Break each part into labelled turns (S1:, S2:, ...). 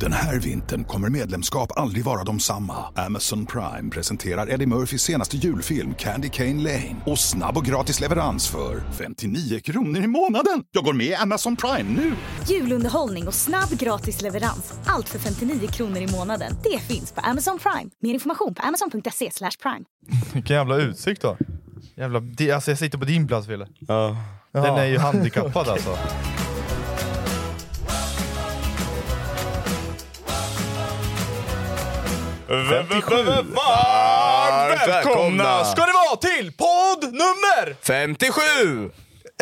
S1: Den här vintern kommer medlemskap aldrig vara de samma. Amazon Prime presenterar Eddie Murphys senaste julfilm Candy Cane Lane. Och snabb och gratis leverans för 59 kronor i månaden. Jag går med i Amazon Prime nu!
S2: Julunderhållning och snabb gratis leverans. Allt för 59 kronor i månaden. Det finns på Amazon Prime. Mer information på amazon.se slash prime.
S3: Vilken jävla utsikt då.
S4: Jävla, di- alltså jag sitter på din plats Wille.
S3: Ja.
S4: Den är ju handikappad alltså.
S3: Varmt
S4: Välkomna ska det vara till podd nummer
S5: 57!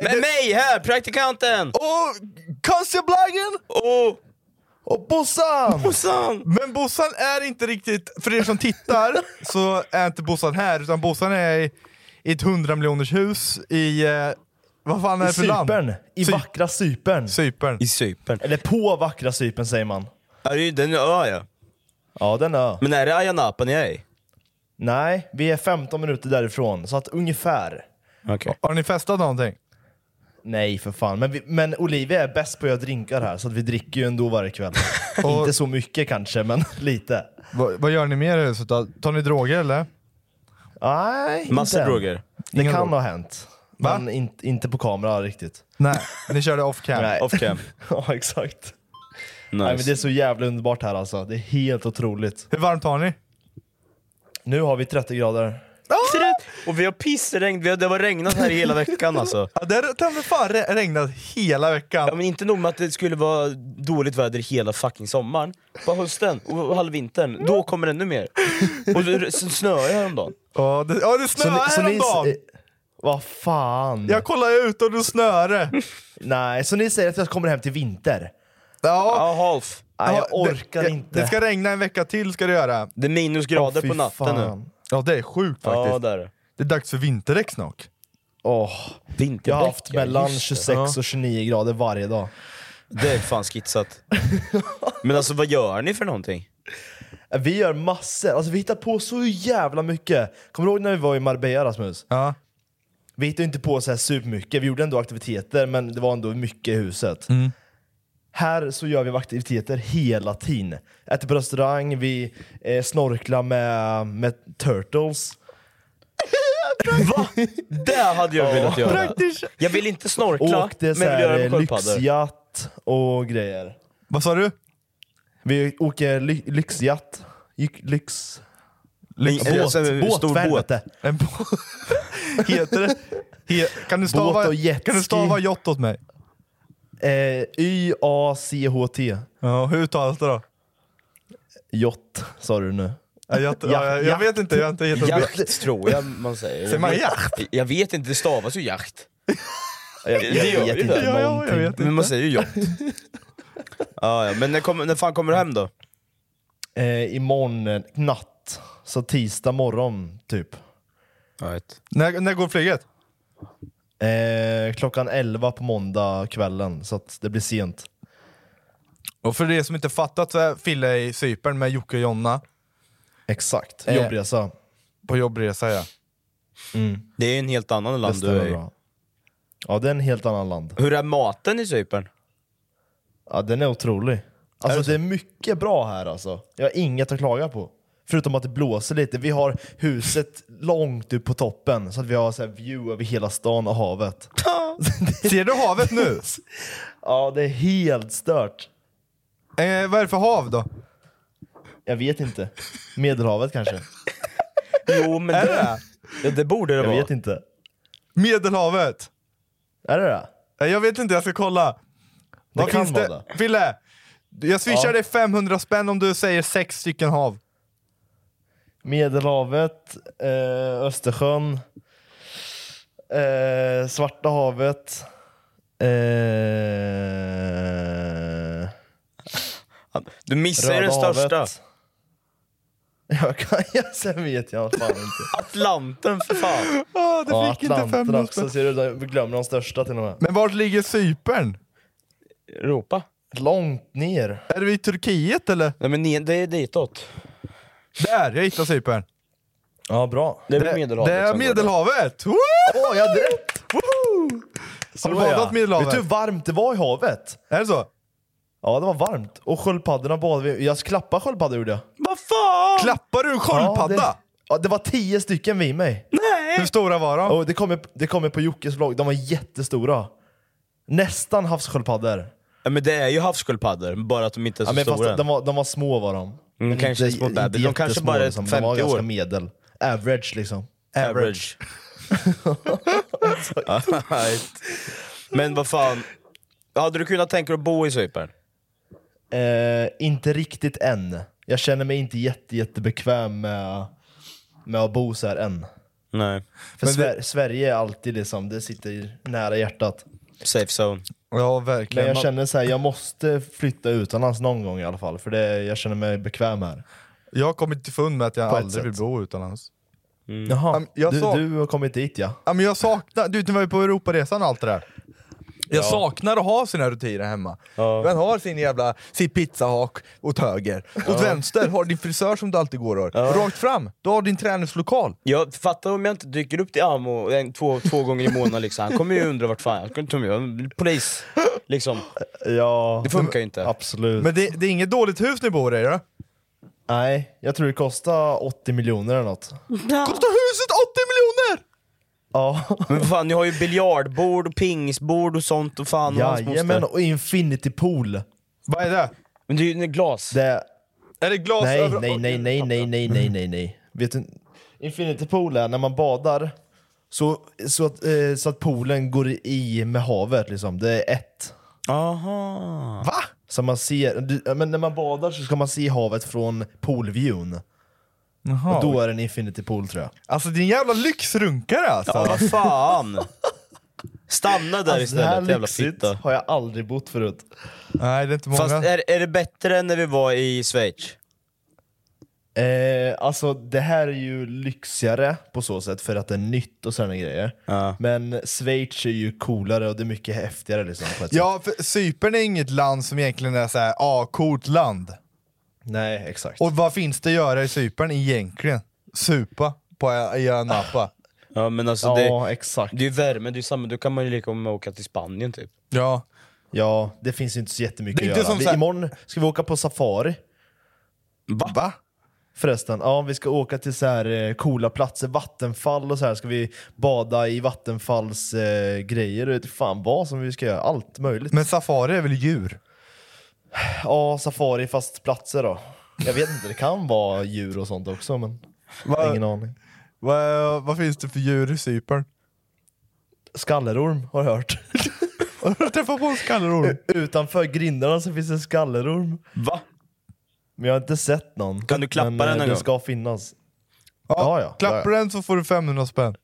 S5: Med mig här, praktikanten!
S4: och Casablanca
S5: Och
S4: och Bossan!
S5: Sam!
S4: Men Bossan är inte riktigt, för er som tittar så är inte Bossan här, utan Bossan är i, i ett 100 miljoners hus i, eh, vad fan är det för land?
S6: Cypern. I
S4: Cy-
S6: vackra Cypern.
S4: Cypern.
S5: I Cypern.
S6: Eller på vackra Cypern säger man.
S5: Ja, det är ju den ö ja.
S6: Ja, den är.
S5: Men är det Ayia Napa ni är i?
S6: Nej, vi är 15 minuter därifrån, så att ungefär.
S5: Okej.
S4: Har ni festat någonting?
S6: Nej, för fan. Men, vi, men Olivia är bäst på att göra drinkar här, så att vi dricker ju ändå varje kväll. Inte så mycket kanske, men lite.
S4: Vad- vad gör ni mer i huset då? Tar ni droger eller?
S6: Nej, inte
S5: Massor
S6: än.
S5: droger.
S6: Det
S4: Inga
S6: kan
S4: droger.
S6: ha hänt.
S4: Va?
S6: Men in, inte på kamera riktigt.
S4: Nej, ni körde off cam.
S6: Nej.
S5: Off cam.
S6: ja, exakt. Nej, men det
S5: Nice.
S6: är så jävla underbart här alltså. Det är helt otroligt.
S4: Hur varmt har ni?
S6: Nu har vi 30 grader.
S5: Ser du? Och vi har pissregn, vi har, det har regnat här i hela veckan alltså.
S4: Ja, det har för fan re- regnat hela veckan.
S5: Ja, men inte nog med att det skulle vara dåligt väder hela fucking sommaren. Bara hösten och halvvintern, då kommer det ännu mer. Och det s- snöar ju häromdagen.
S4: Ja, det, ja, det snöade häromdagen!
S6: eh, Vad fan?
S4: Jag kollade ut och då snöade det.
S6: Nej, så ni säger att jag kommer hem till vinter?
S4: Ja.
S5: Ja, half.
S6: Nej,
S4: Ja,
S6: jag orkar
S4: det,
S6: inte.
S4: Det ska regna en vecka till ska det göra.
S5: Det är minusgrader
S6: Fy
S5: på natten
S6: fan.
S5: nu.
S4: Ja det är sjukt faktiskt.
S5: Ja, där. är det.
S4: Det är dags för vinterdäck snart.
S6: Åh,
S5: Vinterdäck.
S6: jag har haft
S5: ja,
S6: mellan
S5: just det.
S6: 26 och 29 grader varje dag.
S5: Det är fan skitsat. Men alltså vad gör ni för någonting?
S6: Vi gör massor, alltså vi hittar på så jävla mycket. Kommer du ihåg när vi var i Marbella Rasmus?
S4: Ja.
S6: Vi hittade inte på så här supermycket, vi gjorde ändå aktiviteter men det var ändå mycket i huset.
S5: Mm.
S6: Här så gör vi aktiviteter hela tiden. Äter på restaurang, vi eh, snorklar med, med turtles.
S5: Va? Det hade jag velat göra.
S4: Praktiskt.
S5: Jag vill inte snorkla,
S6: Åkte så
S5: men vill göra
S6: här,
S5: det
S6: eh,
S5: med sköldpaddor.
S6: lyxjatt och grejer.
S4: Vad sa du?
S6: Vi åker ly- lyxjatt. Gy- Lyx...
S5: Men- alltså, en stor
S6: för
S5: båt.
S6: helvete.
S4: En bo- Heter det? He- kan, du stava,
S6: Båt och jetski.
S4: kan du stava jott åt mig?
S6: Eh, Y-A-C-H-T.
S4: Ja, hur uttalas det då?
S6: Jott, sa du nu.
S4: Ja, jott-
S6: Ja,
S4: ja, jag, jag
S6: jakt.
S4: vet inte, jag har inte gett
S5: Jakt tror jag man säger.
S4: Säger man
S5: Jag vet-
S4: jakt?
S5: Jag vet inte, det stavas ju jakt.
S6: Jag,
S5: det gör vi
S6: inte
S5: där.
S4: Ja, ja, jag
S6: någonting.
S4: vet
S5: Men
S4: inte.
S5: man säger ju jakt. Ja, ja. Men när, kommer- när fan kommer du hem då?
S6: eh, imorgon eh, natt. Så tisdag morgon, typ.
S5: Jag vet.
S4: När, när går flyget?
S6: Eh, klockan 11 på måndag kvällen, så att det blir sent.
S4: Och för er som inte fattat så är Fille i Cypern med Jocke och Jonna.
S6: Exakt,
S4: Eh,
S6: jobbresa.
S4: På jobbresa ja.
S7: Det är ju en helt annan
S6: Det
S7: land du
S6: stämmer
S7: är i.
S6: bra. Ja, det är en helt annan land.
S7: Hur är maten i Cypern?
S6: Ja, den är otrolig. Alltså det, är mycket bra här alltså. Jag har inget att klaga på. Förutom att det blåser lite. Vi har huset långt upp på toppen så att vi har så här view över hela stan och havet.
S4: Ser du havet nu?
S6: Ja, det är helt stört.
S4: Eh, vad är det för hav då?
S6: Jag vet inte. Medelhavet kanske?
S7: Jo men det, det? Ja, det borde det
S6: Jag
S7: vara.
S6: vet inte.
S4: Medelhavet?
S6: Är det det?
S4: Eh, Jag vet inte, jag ska kolla.
S6: Det kan
S4: finns
S6: vara
S4: det?
S6: det.
S4: Fille! Jag swishar
S6: Ja.
S4: dig 500 spänn om du säger sex stycken hav.
S6: Medelhavet, eh, Östersjön, eh, Svarta havet. Eh,
S7: Du missar ju den
S6: Röda
S7: största.
S6: havet. Jag kan, jag, sen vet jag fan inte.
S7: Atlanten för fan.
S4: Ah, det
S6: Ja,
S4: fick inte
S6: Atlanten
S4: 500
S6: också,
S4: spänn.
S6: ser du? Jag glömmer de största till och med.
S4: Men vart ligger Cypern?
S7: Europa?
S6: Långt ner.
S4: Är vi i Turkiet eller?
S7: Nej men ni- det är ditåt.
S4: Där, jag hittade Cypern.
S6: Ja, bra.
S7: Det är väl Medelhavet
S4: Det är
S7: som går där.
S4: Medelhavet! Woo!
S6: Åh, jag hade rätt!
S4: Har du badat Medelhavet?
S6: Vet du hur varmt det var i havet?
S4: Är det så?
S6: Ja, det var varmt. Och sköldpaddorna badade vi Jag klappade sköldpaddor gjorde jag.
S7: Vad fan!
S4: Klappar du en sköldpadda?
S6: Ja, det, ja, det var tio stycken vid mig.
S4: Hur stora var de?
S6: Och det kommer det kommer på Jockes vlogg. De var jättestora. Nästan havssköldpaddor.
S7: Ja, men det är ju havssköldpaddor, bara att de inte är så
S6: Ja, men fast
S7: stora
S6: de
S7: än.
S6: var, de var små var de. Men
S7: kanske små bebis. De
S6: jättesmå, liksom.
S7: kanske bara är
S6: De var
S7: 50 år.
S6: ganska medel. Average liksom.
S7: Average. Alright. men vad fan, hade du kunnat tänka dig att bo i Cypern?
S6: Eh, inte riktigt än. Jag känner mig inte jätte, jättebekväm med, med att bo så här än.
S7: Nej.
S6: För Sver- Sverige är alltid liksom, det sitter nära hjärtat.
S7: Safe zone.
S4: Ja,
S6: Men
S4: verkligen.
S6: jag känner så här, jag måste flytta utomlands någon gång i alla fall. För det, jag känner mig bekväm här.
S4: Jag har kommit till fund med att jag
S6: På ett
S4: aldrig vill
S6: sätt.
S4: bo utomlands.
S6: Jaha,
S7: Mm.
S4: men jag
S6: du,
S4: sa-
S6: du har kommit dit ja.
S4: Ja, men jag saknar, du vet när vi var på Europaresan och allt det där. Jag saknar att ha sina rutiner hemma. Man har sin jävla, sitt pizzahak åt höger, åt vänster har din frisör som du alltid går och Rakt fram, du har din träningslokal.
S7: Jag fattar om jag inte dyker upp till Amo en, två, två gånger i månaden liksom. Han kommer ju undra vart fan jag kommer. Polis. Liksom.
S6: Ja,
S7: Det funkar ju inte.
S6: absolut.
S4: Men det, det är inget dåligt hus ni bor i då?
S6: Nej, jag tror det kostar 80 miljoner eller något.
S4: Kostar huset 80 miljoner!
S6: Ja.
S7: Men vad fan, ni har ju biljardbord och pingisbord och sånt och fan och hans
S6: Jajamän,
S7: moster.
S6: och infinity pool.
S4: Vad är det?
S7: Men det är ju glas.
S6: Det...
S4: Är det glas
S6: Nej,
S4: över...
S6: nej, nej, nej, nej, nej, nej, nej, nej. Vet du, infinity pool är när man badar så, så, att, eh, så att poolen går i med havet liksom. Det är ett.
S7: Aha.
S6: Va? Så man ser, du, ja, men när man badar så ska man se havet från poolviewn. Och då är det en infinity pool tror jag.
S4: Alltså din jävla lyxrunkare alltså!
S7: Ja, vad fan! Stanna där
S6: Alltså, det här
S7: istället, jävla
S6: lyxigt
S7: fitta.
S6: har jag aldrig bott förut.
S4: Nej det är inte många.
S7: Fast eh, är, är det bättre än när vi var i Schweiz?
S6: Eh, alltså det här är ju lyxigare på så sätt för att det är nytt och sådana grejer. Men Schweiz är ju coolare och det är mycket häftigare liksom. På ett sätt.
S4: Ja, för Cypern är inget land som egentligen är såhär, ah, coolt land.
S6: Nej, exakt.
S4: Och vad finns det att göra i Cypern egentligen? Supa på Ö- i ön Napa.
S7: Ja men alltså
S6: ja,
S7: det,
S6: exakt.
S7: det är ju värme, det är ju samma, då kan man ju lika gärna åka till Spanien typ.
S4: Ja.
S6: Ja, det finns ju inte så jättemycket
S4: Det är
S6: att
S4: inte
S6: göra.
S4: som
S6: Vi,
S4: så här-
S6: Imorgon ska vi åka på safari
S4: Va?
S6: förresten. Ja, vi ska åka till så här eh, coola platser, vattenfall och så här. Ska vi bada i vattenfalls eh, grejer och vet fan vad som vi ska göra. Allt möjligt.
S4: Men safari är väl djur?
S6: Ja, safari fast platser då. Jag vet inte, det kan vara djur och sånt också men...
S4: Va-
S6: Ingen aning.
S4: Vad, vad finns det för djur i Cypern?
S6: Skallerorm har jag hört.
S4: Har du träffat på en skallerorm?
S6: Utanför grindarna så finns en skallerorm.
S7: Va?
S6: Men jag har inte sett någon.
S7: Kan du klappa
S6: men,
S7: den
S6: eh,
S7: någon gång?
S6: Den ska finnas. ja, ja.
S4: Klappar den så får du 500 spänn.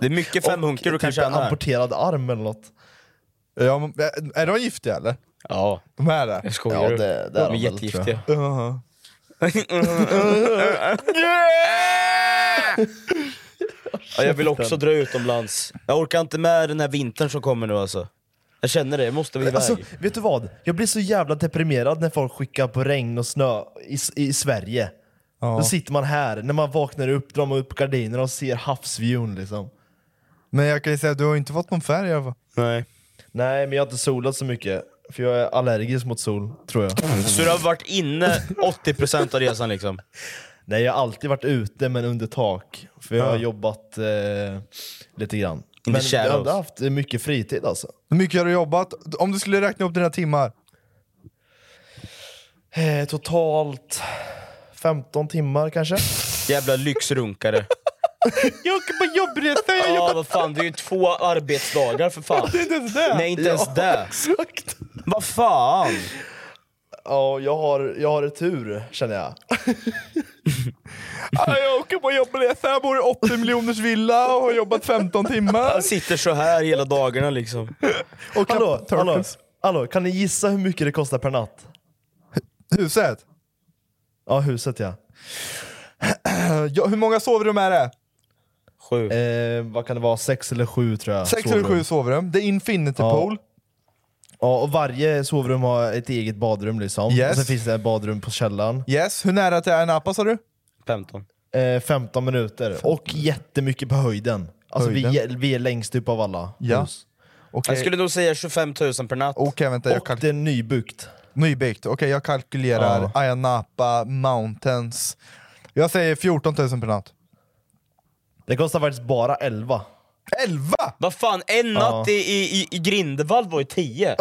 S7: Det är mycket femhunkar du kan
S6: typ en
S7: tjäna här.
S6: amputerad arm eller något.
S4: Ja, men, eh, är- är de giftiga eller?
S7: Ja,
S4: De här eh. där?
S7: jag skojar.
S6: Ja,
S7: du?
S6: det, det är
S7: de är
S6: väl, tror jag.
S7: jättegiftiga.
S4: Uh-huh.
S6: Ja, jag vill också dra utomlands. Jag orkar inte med den här vintern som kommer nu alltså. Jag känner det, jag måste iväg.
S8: Alltså, vet du vad? Jag blir så jävla deprimerad när folk skickar på regn och snö i, i Sverige. Då sitter man här, när man vaknar upp drar man upp gardinerna och ser havsvyn liksom.
S4: Men jag kan ju säga, du har inte fått någon färg i alla fall.
S6: Nej.
S8: Nej, men jag har inte solat så mycket. För jag är allergisk mot sol, tror jag.
S6: Så du har varit inne 80% av resan liksom?
S8: Nej, jag har alltid varit ute men under tak. För jag har jobbat eh, lite grann. Men jag har
S6: shadows.
S8: ändå haft mycket fritid alltså.
S4: Hur mycket har du jobbat? Om du skulle räkna upp dina timmar?
S8: Eh, totalt 15 timmar kanske.
S6: Jävla lyxrunkare.
S8: jag åker på jobbresa!
S6: Ja, vad fan, det är ju två arbetsdagar för fan.
S8: inte ens det!
S6: Nej, inte ens det.
S8: Exakt.
S6: Vad fan!
S8: Ja, jag har, jag har tur känner jag.
S4: jag åker på jobbresa, jag bor i 80 miljoners villa och har jobbat 15 timmar.
S6: Jag
S8: Alltså,
S6: sitter så här hela dagarna liksom.
S8: Och hallå,
S4: Turtles.
S8: hallå, hallå, kan ni gissa hur mycket det kostar per natt?
S4: Huset?
S8: Ja, huset ja.
S4: Eh, Ja, hur många sovrum är det?
S6: Sju.
S8: Eh, vad kan det vara? Sex eller sju tror jag.
S4: Sex eller
S8: sovrum.
S4: sju sovrum. Det är infinity
S8: Ja.
S4: pool.
S8: Ja, och varje sovrum har ett eget badrum liksom.
S4: Yes.
S8: Och sen finns det ett badrum på källaren.
S4: Yes, hur nära till Napa sa du?
S6: 15.
S8: Eh, 15 minuter. Och jättemycket på höjden. Alltså Vi, är, vi är längst upp av alla
S4: Ja.
S8: hus.
S4: Okej,
S6: Jag skulle nog säga 25 000 per natt.
S4: Okej, vänta. Jag
S8: Och
S4: kalk-
S8: det är nybyggt.
S4: Nybyggt. Okej, jag kalkylerar Ayia Napa Mountains. Jag säger 14 000 per natt.
S8: Det kostar faktiskt bara 11.
S4: 11!
S6: Vad fan, en natt i, i, i Grindevald var ju 10.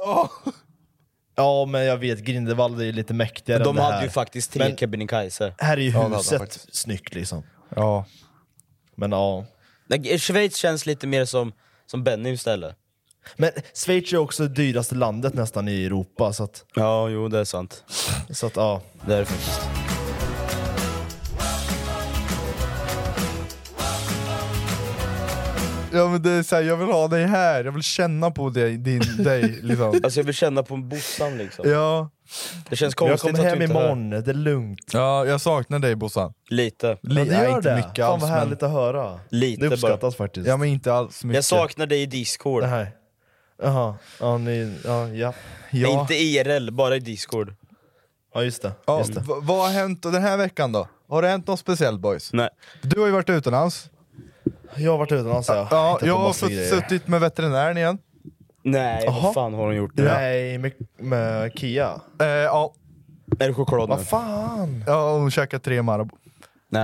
S8: Ja, men jag vet, Grindelwald är ju lite mäktigare än
S6: De
S8: det
S6: hade
S8: här.
S6: ju faktiskt tre
S8: Men-
S6: Kebnekaise.
S8: Här är ju
S4: hade
S8: huset
S4: faktiskt.
S8: snyggt liksom.
S4: Ja.
S8: Men ja.
S6: Nej, Schweiz känns lite mer som, som Benny istället.
S8: Men Schweiz är också det dyraste landet nästan i Europa, så att,
S6: Ja, jo det är sant.
S8: så att ja.
S6: Det är det faktiskt.
S4: Ja, men det är så här, jag vill ha dig här, jag vill känna på dig, din, dig liksom.
S6: Alltså jag vill känna på en bossan liksom.
S4: Ja.
S6: Det känns
S8: Jag
S6: konstigt
S8: kommer
S6: att
S8: hem
S6: du inte hör.
S8: imorgon, det är lugnt.
S4: ja, jag saknar dig Bossan.
S6: Lite.
S8: Ja,
S4: Li-
S8: det
S4: nej,
S8: gör
S4: inte
S8: det.
S4: mycket
S8: Fan
S4: alls.
S8: vad härligt
S4: Men,
S8: att höra.
S6: Lite
S8: det uppskattas faktiskt.
S4: ja, men inte alls mycket.
S6: Jag saknar dig i Discord.
S8: Det här. Jaha, ja, ni, ja, ja.
S4: ja.
S6: Inte IRL, bara i Discord.
S8: ja just det.
S4: Ja,
S8: Just det.
S4: v- vad har hänt den här veckan då? Har det hänt något speciellt boys?
S6: Nej.
S4: Du har ju varit utomlands.
S8: Jag har varit utomlands ja.
S4: Ja,
S8: Hittat på
S4: jag har
S8: massa
S4: fått-
S8: grejer.
S4: suttit med veterinären igen.
S6: Nej, vad fan har hon gjort nu?
S8: Nej, med, med Kia.
S4: Eh, ja,
S6: Är det choklad nu?
S8: Vad fan!
S4: ja, hon käkade tre Marabou.
S6: Nej,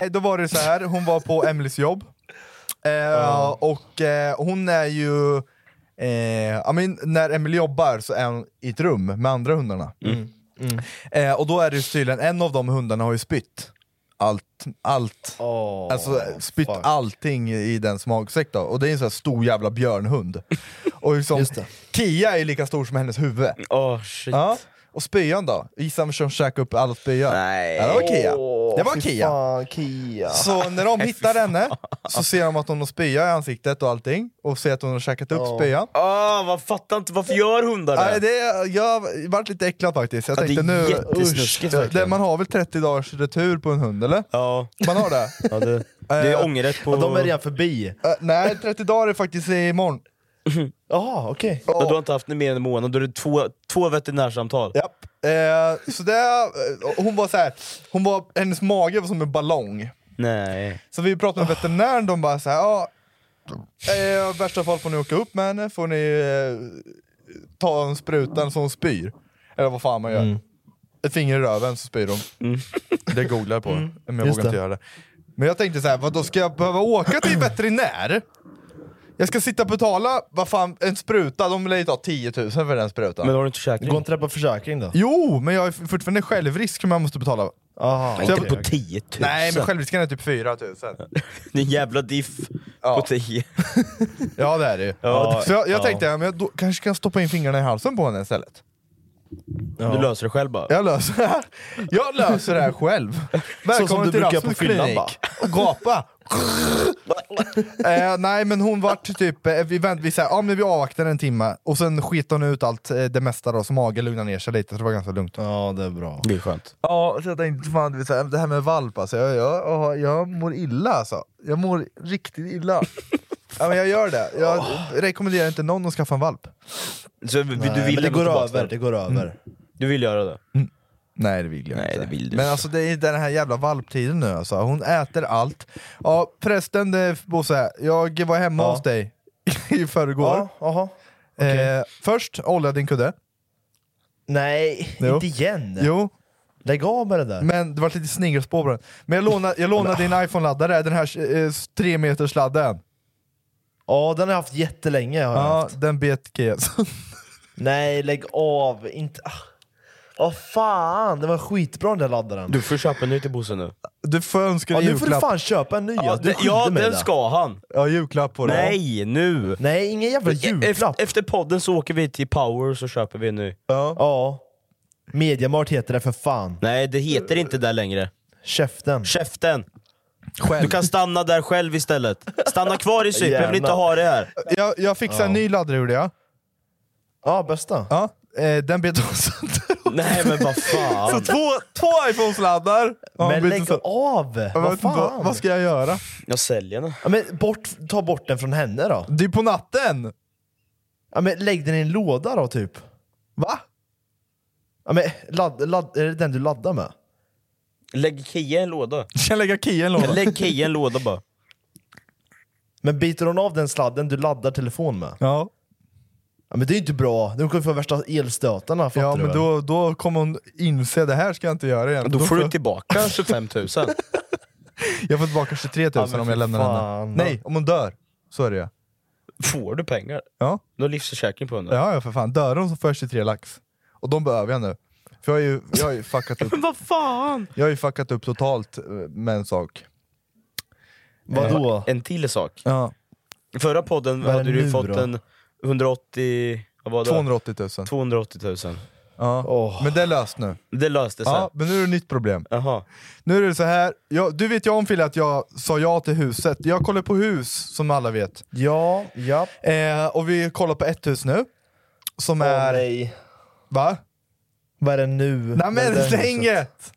S4: Eh, Då var det så här, hon var på Emelies jobb. Eh, Och eh, hon är ju... Eh, I mean, när Emily jobbar så är hon i ett rum med andra hundarna.
S8: Mm.
S4: Eh, och då är det ju tydligen, en av de hundarna har ju spytt. Allt, allt.
S8: Åh,
S4: alltså spytt
S8: fuck.
S4: allting i dens magsäck då. Och det är en sån här stor jävla björnhund. och liksom,
S8: Just det.
S4: Kia är ju lika stor som hennes huvud.
S6: Åh shit.
S4: Ja. Och spyan då? Gissa vem som käkade upp alla spyan?
S6: Nej.
S4: Ja, det var Kia. Det var
S8: Fy
S4: Kia.
S8: Fan, Kia.
S4: Så när de hittar henne så ser de att hon har spya i ansiktet och allting och ser att hon har käkat upp spyan.
S6: Ah, vad fattar inte, varför gör hundar
S4: Nej,
S6: det?
S4: det, jag vart lite äcklad faktiskt. Jag
S6: Ja, det
S4: tänkte
S6: är
S4: nu,
S6: jättesnuskigt
S4: usch, det,
S6: verkligen.
S4: man har väl 30 dagars retur på en hund eller?
S6: Ja,
S4: Man har det?
S6: ja det, det är ångerrätt på...
S8: Eh, Ja, de är redan förbi.
S4: Eh, nej, 30 dagar är faktiskt imorgon.
S8: Jaha, okej.
S6: Ja, Du har inte haft det mer än en månad, då är det två, två veterinärsamtal.
S4: Japp. Eh, så det, eh, hon var så här, hon var, hennes mage var som en ballong.
S6: Nej.
S4: Så vi pratade med veterinären, de bara såhär, ja, eh, i värsta fall får ni åka upp med henne, får ni eh, ta en sprutan så hon spyr. Eller vad fan man gör.
S8: Mm.
S4: Ett finger i röven så spyr hon. Det googlar jag på, men jag
S8: Just
S4: vågar inte
S8: det.
S4: göra det. Men jag tänkte så här, vad då ska jag behöva åka till veterinär? Jag ska sitta och betala, vad fan, en spruta, de lär ju ta 10 000 för den sprutan.
S8: Men då har
S6: du inte försäkring?
S8: Går inte det på försäkring då?
S4: Jo, men jag är fortfarande självrisk som jag måste betala.
S8: Aha,
S4: Så
S6: Inte
S4: jag-
S6: på 10 000.
S4: Nej, men självrisken är typ 4 000.
S6: Det är en jävla diff på 10.
S4: Ja det är det ju.
S6: Ja,
S4: så jag, jag
S6: ja.
S4: tänkte, ja, men jag då, kanske kan jag stoppa in fingrarna i halsen på henne istället.
S6: Du löser det själv bara.
S4: Jag löser det här, jag löser det här själv.
S8: Så som
S4: Välkommen
S8: du
S4: till
S8: brukar på
S4: Rasmus
S8: fyllan,
S4: klinik.
S8: va?
S4: Och gapa. eh, nej men hon vart typ, eh, vi, vänt, vi, så här, ja, men vi avvaktade en timme och sen sket hon ut allt eh, det mesta då, så magen lugnade ner sig lite så det var ganska lugnt.
S8: Ja, det är bra.
S6: Det är skönt.
S4: Ja, så jag tänkte fan, du vet, så här, det här med valp alltså, jag, jag, jag, jag mår illa alltså. Jag mår riktigt illa. ja, men jag gör det. Jag rekommenderar inte någon att skaffa en valp.
S6: Så vi-
S8: Nej,
S6: du vill
S8: men det
S6: ändå
S8: går
S6: tillbaka
S8: över,
S6: till
S8: det går över.
S6: Du vill göra det?
S4: Nej det vill jag
S6: Nej,
S4: inte.
S6: det vill du
S4: men
S6: inte.
S4: alltså det är den här jävla valptiden nu alltså, hon äter allt. Ja förresten det- Bosse, jag var hemma
S8: Ja.
S4: hos dig i förrgår.
S8: Ja, aha.
S4: eh, först oljade din kudde,
S8: Nej,
S4: Jo.
S8: inte igen!
S4: jo,
S8: Lägg av med det där.
S4: men det var lite snigelspår på den. Men jag lånade, jag lånade din iPhone-laddare, den här eh, 3 meters sladden.
S8: Ja, den har jag haft jättelänge. Har jag
S4: Ja,
S8: haft.
S4: den bet GS.
S8: Nej, lägg av! Inte... ah. Åh fan, det var skitbra den där laddaren.
S6: Du får köpa en ny till Bosse nu.
S4: Du får önska
S8: ja,
S4: dig
S8: nu får du
S4: julklapp.
S8: fan köpa en ny!
S6: Ja,
S8: Ja, du
S6: det- ja
S8: skiter med
S6: den
S8: det.
S6: ska han.
S4: Ja, julklapp på den.
S6: Nej, nu!
S8: Nej, ingen jävla julklapp!
S6: Efter, efter podden så åker vi till Power och så köper vi en ny.
S8: Ja. Mediamart heter det för fan.
S6: Nej, det heter inte där längre.
S8: Käften.
S6: Käften! Du kan stanna där själv istället. Stanna kvar i Cypern, jag vill inte
S8: Gärna.
S6: ha det här.
S4: Jag, jag fixade en ny laddare gjorde jag.
S8: Ja, bästa.
S4: Ja, eh, den bet hon sönder.
S6: Nej men vad
S4: Så
S6: fan.
S4: två, två iPhone-sladdar! Ja, hon
S8: Men
S4: bet
S8: lägg
S4: sönder.
S8: av!
S4: Jag
S8: Vad
S4: vet inte
S8: fan?
S4: Vad, vad ska jag göra?
S6: Jag säljer den.
S8: Ja, men bort, ta bort den från henne då.
S4: Det är på natten!
S8: Ja, men lägg den i en låda då, typ.
S4: Va?
S8: Ja, men ladd, ladd, är det den du laddar med?
S6: Lägg Kia i en låda.
S4: Kan jag lägga kia i en låda?
S6: Lägg Kia i en låda bara.
S8: Men biter hon av den sladden du laddar telefon med?
S4: Ja,
S8: Ja, men det är ju inte bra. Du kommer få värsta elstötarna, fattar
S4: ja
S8: du
S4: men
S8: väl?
S4: då, då kommer hon inse det här ska jag inte göra igen.
S6: Då får
S8: typ-
S6: du tillbaka 25 000.
S4: jag får tillbaka 23 000
S8: men
S4: om
S8: för
S4: jag lämnar
S8: fan.
S4: henne. Nej, om hon dör. Så är det ju.
S6: Får du pengar?
S4: Ja.
S6: Du har livsförsäkring på den.
S4: Ja, ja för fan. Dör hon så får jag 23 lax. Och de behöver jag nu. För jag har ju, jag har ju fuckat upp.
S6: Vad fan!
S4: Jag har ju fuckat upp totalt eh, med en sak.
S8: Vadå?
S6: En till sak.
S4: Ja.
S6: Förra podden
S8: Vad är
S6: hade
S8: det
S6: du ju
S8: nu
S6: fått
S8: då?
S6: en 180... Vad var det?
S4: 280 000.
S6: 280 000.
S4: Ja.
S8: Åh.
S4: Men det är löst nu.
S6: Det löste sig.
S4: Ja, men nu är det ett nytt problem.
S6: Jaha.
S4: Nu är det så här. Jag, du vet ju om Fille att jag sa ja till huset. Jag kollar på hus, som alla vet.
S8: Ja, ja.
S4: Eh, och vi kollar på ett hus nu. Som är...
S8: nej.
S4: Va?
S8: Vad är det nu?
S4: Nej
S8: Vad är
S4: men
S8: det nu?
S4: det är inget!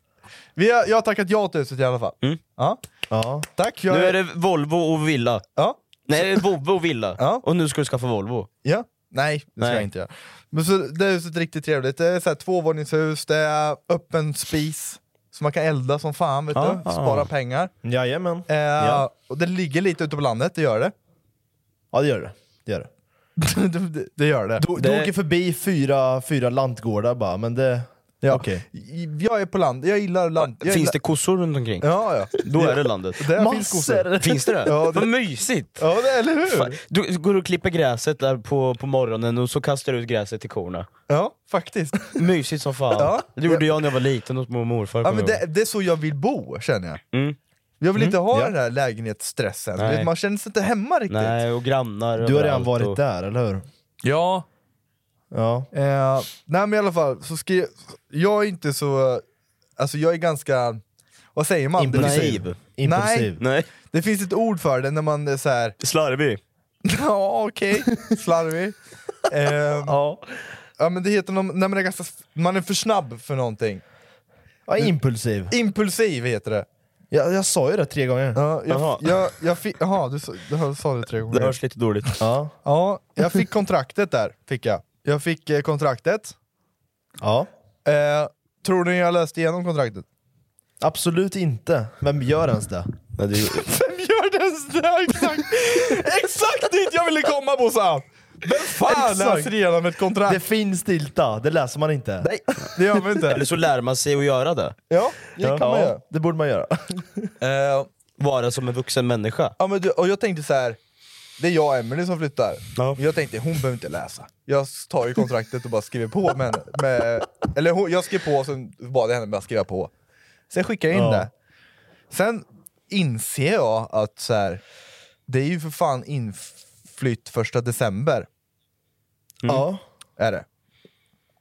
S4: Vi har, jag har tackat ja till huset i alla fall. Ja.
S8: Ja.
S4: Tack, jag
S6: Mm. Nu är det Volvo och villa.
S4: Ja.
S6: Nej, det är Volvo och villa.
S4: Ja.
S6: Och nu ska du skaffa Volvo.
S4: Ja. Nej, det ska
S6: Nej.
S4: jag inte göra. Men så, det här huset är riktigt trevligt. Det är så här, tvåvåningshus, det är öppen spis. Så man kan elda som fan, vet
S6: Ja.
S4: du. Spara pengar.
S8: Jajamän.
S4: Eh,
S8: Ja.
S4: Och det ligger lite ute på landet, det gör det.
S8: Ja, det gör det. det, gör det.
S4: det, det- det gör det.
S8: Du,
S6: Det-
S8: du åker förbi fyra, fyra lantgårdar bara, men det... Ja. Okej.
S4: Jag är på land, jag gillar land. Jag
S6: Finns
S4: gillar...
S6: det kossor runt omkring?
S4: Ja, ja.
S6: Då är det landet.
S4: Där finns kossor.
S8: Massor!
S6: Finns det det?
S4: Ja, det-
S6: Vad mysigt!
S4: Ja, det, eller
S6: Fan,
S4: hur?
S6: Du, du går och klipper gräset där på, på morgonen och så kastar du ut gräset till korna.
S4: Ja, faktiskt.
S6: Mysigt som fan.
S4: Ja.
S6: Det gjorde jag när jag var liten hos mormor och morfar.
S4: Ja,
S6: kommer
S4: men
S6: jag
S4: det, det är så jag vill bo, känner jag.
S6: ihåg. mm.
S4: Jag vill inte ha
S8: ja.
S4: den här lägenhetsstressen, Du
S6: Nej.
S4: vet, man känner sig inte hemma riktigt.
S6: Nej, och grannar
S8: Du har redan
S6: överallt
S8: varit
S6: och...
S8: där, eller hur?
S4: Ja.
S8: Ja.
S4: Eh, nej men i alla fall, så skrev, jag är inte så, alltså jag är ganska, vad säger man?
S8: Impulsiv.
S6: Naiv.
S8: Impulsiv.
S6: Nej,
S4: Det finns ett ord för det när man är såhär,
S6: slarvig.
S4: ja okej, slarvig. Ehm,
S8: Ja.
S4: ja men det heter någon, nej, men det är ganska, man är för snabb för någonting.
S8: ja, impulsiv.
S4: Impulsiv heter det.
S8: Jag, jag sa ju det tre gånger.
S4: Ja, jag,
S6: Jaha.
S4: jag, jag fick, jaha, du, sa- du sa det tre
S6: Det
S4: gånger.
S6: hörs lite dåligt.
S8: Ja.
S4: Ja, jag fick kontraktet där, fick jag. Jag fick eh, kontraktet.
S8: ja.
S4: Eh, tror ni jag läste igenom kontraktet?
S8: Absolut inte. Vem gör ens det?
S6: Nej, det...
S4: Vem gör det där? Exakt, exakt dit jag ville komma Bossan! Vem fan
S8: Exakt.
S4: läser igenom ett kontrakt?
S8: Det finstilta, det läser man inte.
S4: Nej, det gör man
S6: Eller
S4: inte.
S6: så lär man sig att göra det.
S4: Ja, det kan man göra.
S8: det borde man göra.
S4: Eh,
S6: Vara som en vuxen människa.
S4: Ja, men du, och jag tänkte så här. Det är jag och Emelie som flyttar. Jag tänkte hon behöver inte läsa. Jag tar ju kontraktet och bara skriver på med, henne. med Eller hon, jag skrev på och sen bad jag henne bara skriva på. Sen skickade jag in
S8: Ja.
S4: det. Sen inser jag att så här, det är ju för fan inflytt första december.
S8: Mm. Ja.
S4: Är det.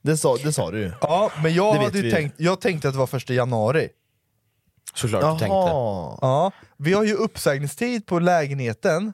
S8: Det sa, det sa du ju.
S4: Ja, men jag,
S8: Det vet
S4: hade ju
S8: vi.
S4: tänkt, jag tänkte att det var första januari.
S8: Såklart du Jaha. tänkte.
S4: Ja, vi har ju uppsägningstid på lägenheten,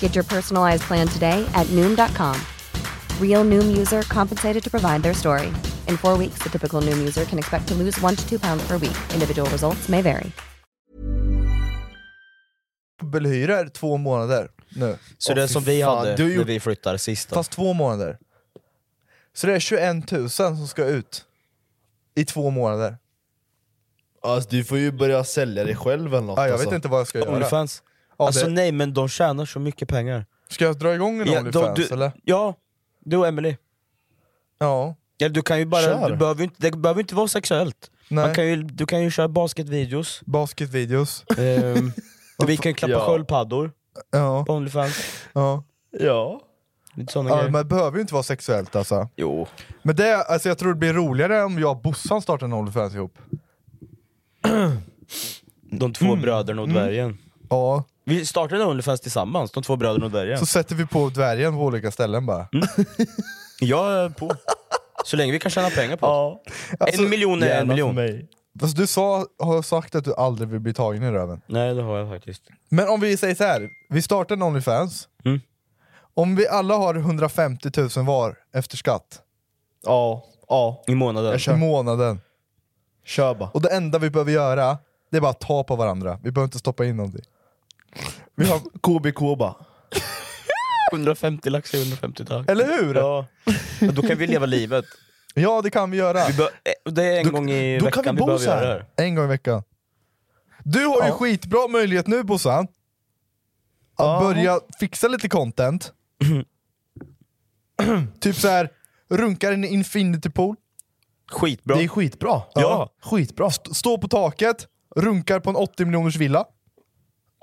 S9: Get your personalized plan today at Noom.com. Real Noom user compensated to provide their story. In four weeks, the typical Noom user can expect to lose one to two pounds per week. Individual results may vary.
S4: dubbelhyror två månader nu.
S6: Så
S4: Åh,
S6: det
S4: fy
S6: som vi
S4: fan,
S6: hade
S4: du har
S6: när
S4: gjort
S6: vi flyttade sist då.
S4: fast två månader. Så det är 21 000 som ska ut. I två månader.
S8: Alltså, du får ju börja sälja dig själv eller något.
S4: Ja, jag
S8: alltså.
S4: vet inte vad jag ska göra.
S6: Onlyfans.
S4: Ja,
S6: alltså
S4: det-
S6: nej men de tjänar så mycket pengar.
S4: Ska jag dra igång en
S6: Ja,
S4: Onlyfans
S6: de- du-
S4: eller?
S6: Ja, du och Emily.
S4: Ja.
S6: Eller du kan ju bara,
S4: Kör.
S6: du behöver ju inte, det behöver inte vara sexuellt.
S4: Nej.
S6: Man kan ju, du kan ju köra basketvideos.
S4: Basketvideos.
S6: Ehm, och vi kan klappa
S4: Ja.
S6: sköldpaddor
S4: Ja.
S6: på Onlyfans.
S4: Ja.
S8: Ja.
S6: Lite såna
S4: Ja,
S6: grejer.
S4: men det behöver ju inte vara sexuellt alltså.
S6: Jo.
S4: Men det, alltså jag tror det blir roligare om jag och Bossan startar en Onlyfans ihop.
S6: De två
S4: Mm.
S6: bröderna och dvärgen.
S4: Ja.
S6: Vi startade Onlyfans tillsammans, de två bröderna och dvärgen.
S4: Så sätter vi på dvärgen på olika ställen bara.
S6: Jag är på. Så länge vi kan tjäna pengar på det.
S8: Alltså,
S6: en miljon är en miljon.
S4: Fast Alltså, du sa, har sagt att du aldrig vill bli tagen i röven.
S6: Nej det har jag faktiskt.
S4: Men om vi säger så här, vi startar en Onlyfans.
S6: Mm.
S4: Om vi alla har 150 000 var efter skatt.
S8: Ja, ja.
S6: I månaden.
S8: Jag kör.
S4: I månaden.
S8: Kör bara.
S4: Och det enda vi behöver göra, det är bara att ta på varandra. Vi behöver inte stoppa in någonting. Vi har...
S8: KBK bara.
S6: 150 lax är 150 tack.
S4: Eller hur?
S6: Ja. Och Då kan vi leva livet.
S4: Ja, det kan vi göra.
S6: Vi bör- eh, det är en gång
S8: då
S6: i
S8: kan
S6: veckan
S8: vi bo
S6: behöver
S8: så här.
S6: göra det här.
S4: En gång i veckan. Du har ju skitbra möjlighet nu Bossan. Att börja fixa lite content. typ så här. runkar en infinity pool.
S6: Skitbra.
S8: Det är skitbra.
S6: Ja.
S8: Skitbra.
S4: St- Stå på taket, runkar på en 80 miljoners villa.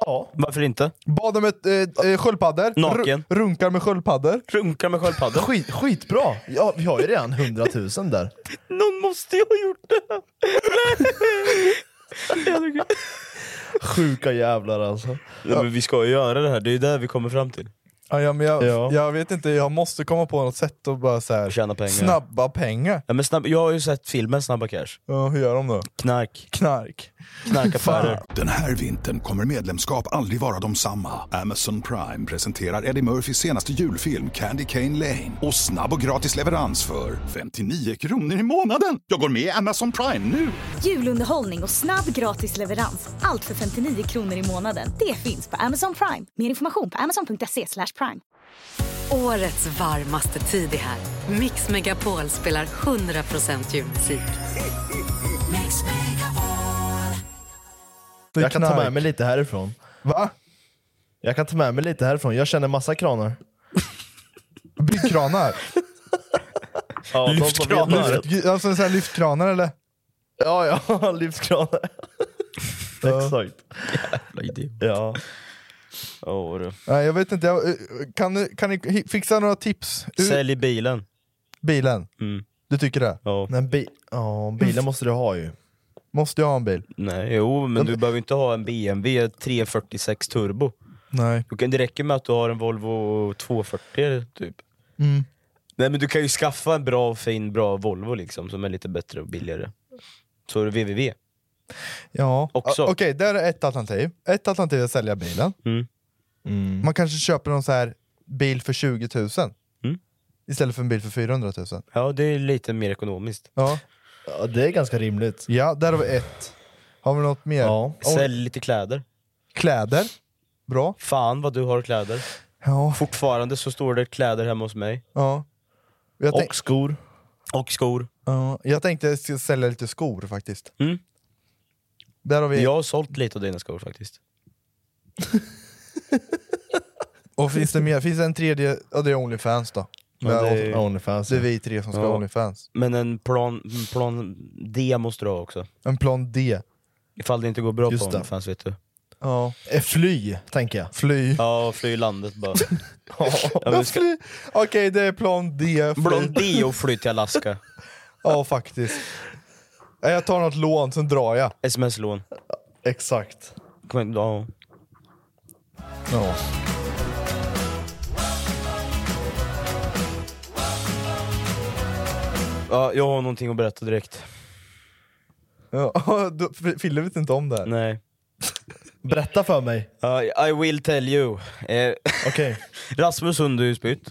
S8: Ja.
S6: Varför inte?
S4: Badar med eh, eh, sköldpaddor.
S6: Naken.
S4: Ru- runkar med sköldpaddor.
S6: Runkar med sköldpaddor.
S8: Skit, skitbra! Ja, vi har ju redan 100 000 där.
S6: Någon måste ju ha gjort det!
S8: Sjuka jävlar alltså.
S6: Ja, men vi ska ju göra det här, det är ju det vi kommer fram till.
S4: Ja, ja, men jag,
S8: Ja.
S4: jag vet inte, jag måste komma på något sätt att bara så här,
S6: Tjäna pengar.
S4: snabba pengar.
S6: Ja, men snabb, jag har ju sett filmen Snabba Cash.
S4: Ja, hur gör de då?
S6: Knark.
S4: Knark.
S6: Knarkaffärer.
S1: Den här vintern kommer medlemskap aldrig vara de samma. Amazon Prime presenterar Eddie Murphys senaste julfilm Candy Cane Lane. Och snabb och gratis leverans för 59 kronor i månaden. Jag går med i Amazon Prime nu!
S10: Julunderhållning och snabb gratis leverans. Allt för 59 kronor i månaden. Det finns på Amazon Prime. Mer information på amazon.se slash prime.
S11: Årets varmaste tid är här. Mix Megapol spelar 100% julmusik.
S4: Det är
S8: Jag kan ta
S4: knark.
S8: med mig lite härifrån.
S4: Va?
S8: Jag kan ta med mig lite härifrån. Jag känner massa kranar.
S4: Byggkranar?
S8: Ja, de som vet
S4: Lyft, alltså så här lyftkranar eller?
S8: Ja, ja, livskranar. Exakt. Ja.
S6: Åh, du.
S4: Nej, jag vet inte, jag, eh, kan, ni- kan ni hi- fixa några tips ur
S6: Sälj bilen.
S4: bilen?
S6: Mm.
S4: Du tycker det?
S6: Ja.
S8: Men bi- ja, bilen måste du ha ju.
S4: Måste jag ha en bil?
S6: Nej, jo, men du behöver inte ha en BMW 346 turbo.
S4: Nej.
S6: Du kan, det räcker med att du har en Volvo 240 typ.
S4: Mm.
S6: Nej men du kan ju skaffa en bra, fin, bra Volvo liksom, som är lite bättre och billigare. Så är det www.
S4: Ja.
S6: Också.
S4: O- Okej, där är ett alternativ. Ett alternativ är att sälja bilen.
S8: Mm.
S4: Mm. Man kanske köper någon så här bil för 20 000
S8: Mm.
S4: istället för en bil för 400 000.
S6: Ja, det är lite mer ekonomiskt.
S4: Ja.
S8: det är ganska rimligt.
S4: Ja, där har vi ett. Har vi något mer? Ja.
S6: Sälj lite kläder.
S4: Kläder. Bra.
S6: Fan vad du har kläder.
S4: Ja.
S6: Fortfarande så står det kläder hemma hos mig.
S4: Ja. Jag tänk-
S6: Och skor. Och skor.
S4: Ja, jag tänkte jag skulle sälja lite skor faktiskt.
S6: Mm.
S4: Där har vi...
S6: Jag har sålt lite av dina skor faktiskt.
S4: Och finns det mer? Finns det en tredje? Ja, det är Onlyfans då.
S6: Ja, det är- Onlyfans,
S4: Det är
S6: ja.
S4: vi tre som ska ha
S6: Ja.
S4: Onlyfans.
S6: Men en plan, en plan D måste du ha också.
S4: En plan D.
S6: Ifall det inte går bra
S4: Just
S6: på
S4: det.
S6: Onlyfans vet du.
S4: Ja.
S8: Eh, Fly, tänker jag.
S4: Fly.
S6: Ja, fly landet bara.
S4: Ja,
S6: men vi ska-
S4: fly. Okej, det är plan D. fly.
S6: Plan D och fly till Alaska.
S4: Ja, faktiskt. Nej, Jag tar något lån, sen drar jag.
S6: Sms-lån.
S8: Exakt.
S6: Kom, ja.
S4: Ja.
S6: Ja, jag har någonting att berätta direkt.
S4: Ja, du- Fille vet inte om det här.
S6: Nej.
S8: Berätta för mig.
S6: Ja, Uh, I will tell you. Eh,
S8: Okej.
S6: Rasmus Sundhus bytt.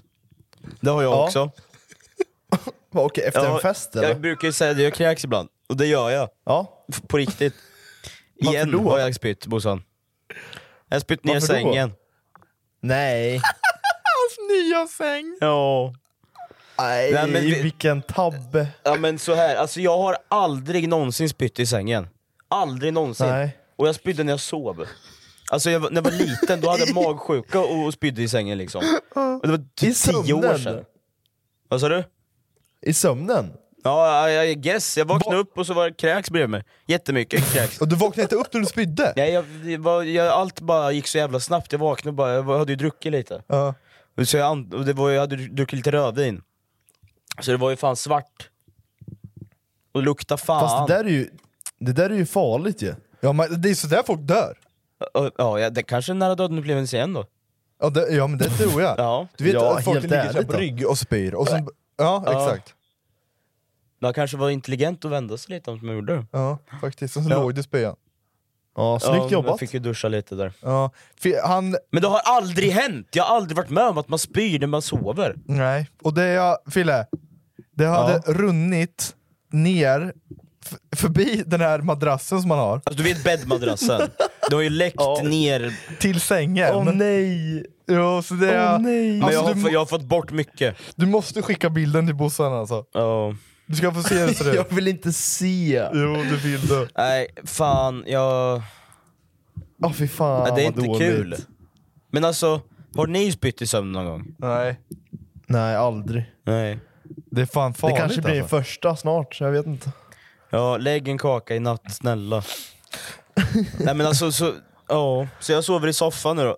S6: Det har jag
S8: Ja.
S6: också.
S8: Okej, efter
S6: Ja,
S8: en fest eller?
S6: Jag brukar ju säga att jag kräks ibland, och det gör jag.
S8: Ja.
S6: F- På riktigt. Igen har jag spytt Bossan. Jag har spytt ner
S8: Varför då?
S6: sängen.
S8: Nej.
S4: Hans nya säng!
S6: Ja.
S8: Nej,
S6: Nej, men vi-
S8: vilken tabbe.
S6: ja men så här. alltså jag har aldrig någonsin spytt i sängen. Aldrig någonsin.
S8: Nej.
S6: Och jag spydde när jag sov. Alltså jag, var- när jag var liten då hade jag magsjuka och, och spydde i sängen liksom. Och det var
S8: I
S6: typ tio år
S8: sömnen.
S6: sedan. Vad sa du?
S8: I sömnen?
S6: Ja, I, I guess. Jag vaknade upp och så var det kräks bredvid mig. Jättemycket kräks.
S4: Och du vaknade inte upp när du spydde?
S6: Nej, jag, det var, jag, allt bara gick så jävla snabbt. Jag vaknade och bara, jag var- hade ju druckit lite.
S4: Ja.
S6: Och Så jag, an- och det var, jag hade dru- druckit lite rödvin. Så det var ju fan svart. Och lukta fan.
S8: Fast det där, är ju, det där är ju farligt ju.
S4: Ja, men det är sådär folk dör.
S6: Ja, Ja, ja, det kanske är nära döden upplevelse igen då.
S4: Ja, det, ja men det tror jag.
S6: Ja.
S4: Du vet
S8: Ja,
S4: att folk
S8: helt
S4: ligger så här
S8: ärligt
S4: på
S8: då.
S4: rygg och spyr. Och sen, ja,
S6: Ja.
S4: exakt.
S6: Man kanske var intelligent och vände sig lite om man gjorde.
S4: Ja, faktiskt. Och så
S6: Ja.
S4: låg du i spyan.
S8: Ja, snyggt
S6: Jag
S8: jobbat.
S6: fick ju duscha lite där.
S4: Ja. För Han,
S6: Men det har aldrig hänt! Jag har aldrig varit med om att man spyr när man sover.
S4: nej. Och det jag, Fille, det hade runnit ner f- förbi den här madrassen som man har,
S6: Alltså du vet bäddmadrassen? Det har ju läckt ner.
S4: till sängen.
S8: Åh nej!
S4: Jo, så det är,
S8: Åh, nej.
S6: Men jag
S4: Alltså,
S6: har,
S4: du,
S6: fa-
S4: må-
S6: jag har fått bort mycket.
S4: du måste skicka bilden till Bossan alltså.
S6: Ja.
S4: Du ska få se hur det ser ut.
S8: Jag vill inte se. Ja,
S4: Jo, du vill det.
S6: Nej, fan jag...
S8: fy fan
S6: Nej, det är
S8: vad
S6: inte
S8: dåligt.
S6: kul. Men alltså, har ni spytt i sömnen någon gång?
S4: Nej.
S8: Nej, aldrig.
S6: Nej.
S4: Det är fan
S8: Det
S4: farligt
S8: kanske blir
S4: alltså.
S8: din första snart, jag vet inte.
S6: Ja, lägg en kaka i natt, snälla. Nej men alltså, så, ja. så jag sover i soffan nu då.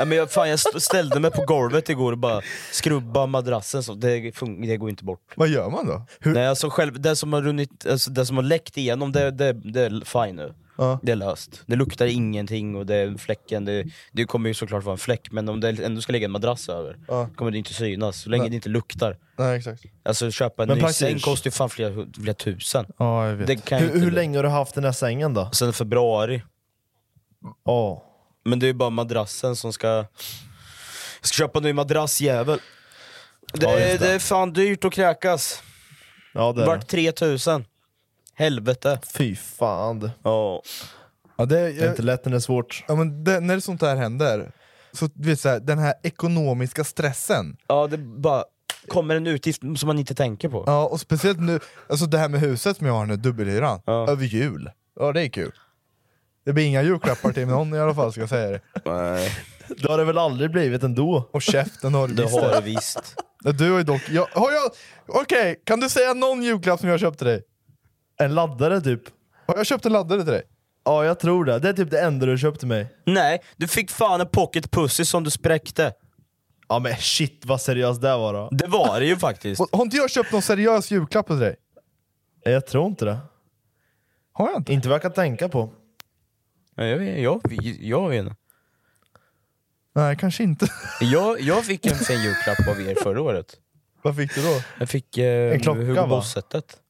S6: Nej, men jag, fan, jag st- ställde mig på golvet igår och bara skrubba madrassen, så det, fun- det går inte bort.
S4: Vad gör man då? Hur?
S6: Nej, alltså själv, det, som har runnit, alltså, det som har läckt igenom, det, det, det är fine nu.
S4: Ja.
S6: Det är löst. Det luktar ingenting och det är fläcken, det, det kommer ju såklart vara en fläck, men om det ändå ska lägga en madrass över
S4: Ja.
S6: kommer det inte synas, så länge
S4: Nej.
S6: det inte luktar.
S4: Nej, exakt.
S6: Alltså köpa en
S8: Men
S6: ny
S8: praktiskt-
S6: säng kostar ju fan flera, hu- flera tusen.
S4: Ja, jag vet.
S6: Det kan ju
S8: Hur,
S6: inte
S8: hur
S6: bli.
S8: länge har du haft den här sängen då?
S6: Sen februari.
S8: Ja.
S6: Men det är ju bara madrassen som ska... Jag ska köpa en ny madrassjävel. Det,
S8: Ja,
S6: är
S8: just det.
S6: det är fan dyrt att kräkas.
S8: Ja, det är det.
S6: Vart 3000. Helvete.
S8: Fy fan. Det
S6: Ja.
S4: Ja, det,
S8: är
S4: jag,
S8: inte lätt när det är svårt.
S4: ja, men det, när sånt här händer, så, du vet, så här, den här ekonomiska stressen,
S6: ja, det bara kommer en utgift som man inte tänker på.
S4: ja, och speciellt nu, alltså det här med huset som jag har nu, dubbelhyran,
S6: Ja.
S4: över jul. Ja, det är kul. Det blir inga julklappar till någon i alla fall, ska jag säga det.
S8: Det har det väl aldrig blivit ändå?
S4: Och käften har du
S6: Det
S4: visst
S6: har
S4: det.
S6: du visst.
S4: Ja, Du har ju dock... Jag, har jag... Okej, kan du säga någon julklapp som jag köpte dig?
S8: En laddare typ?
S4: Har jag köpt en laddare till dig?
S8: Ja, jag tror det. Det är typ det enda du köpte mig.
S6: Nej, du fick fan en pocket pussy som du spräckte.
S8: Ja men shit vad seriöst det var då.
S6: Det var det ju faktiskt.
S4: Och, har inte jag köpt någon seriös julklapp till dig?
S8: Jag tror inte det.
S4: Har jag inte?
S8: Inte vad jag kan tänka på.
S6: Ja, Jag, vet- jag, vet- jag vet inte.
S4: Nej, kanske inte.
S6: Jag, jag fick en fin julklapp av er förra året.
S4: Vad fick du då?
S6: Jag fick eh,
S4: En klocka,
S6: Hugo
S4: va?
S6: Boss-setet.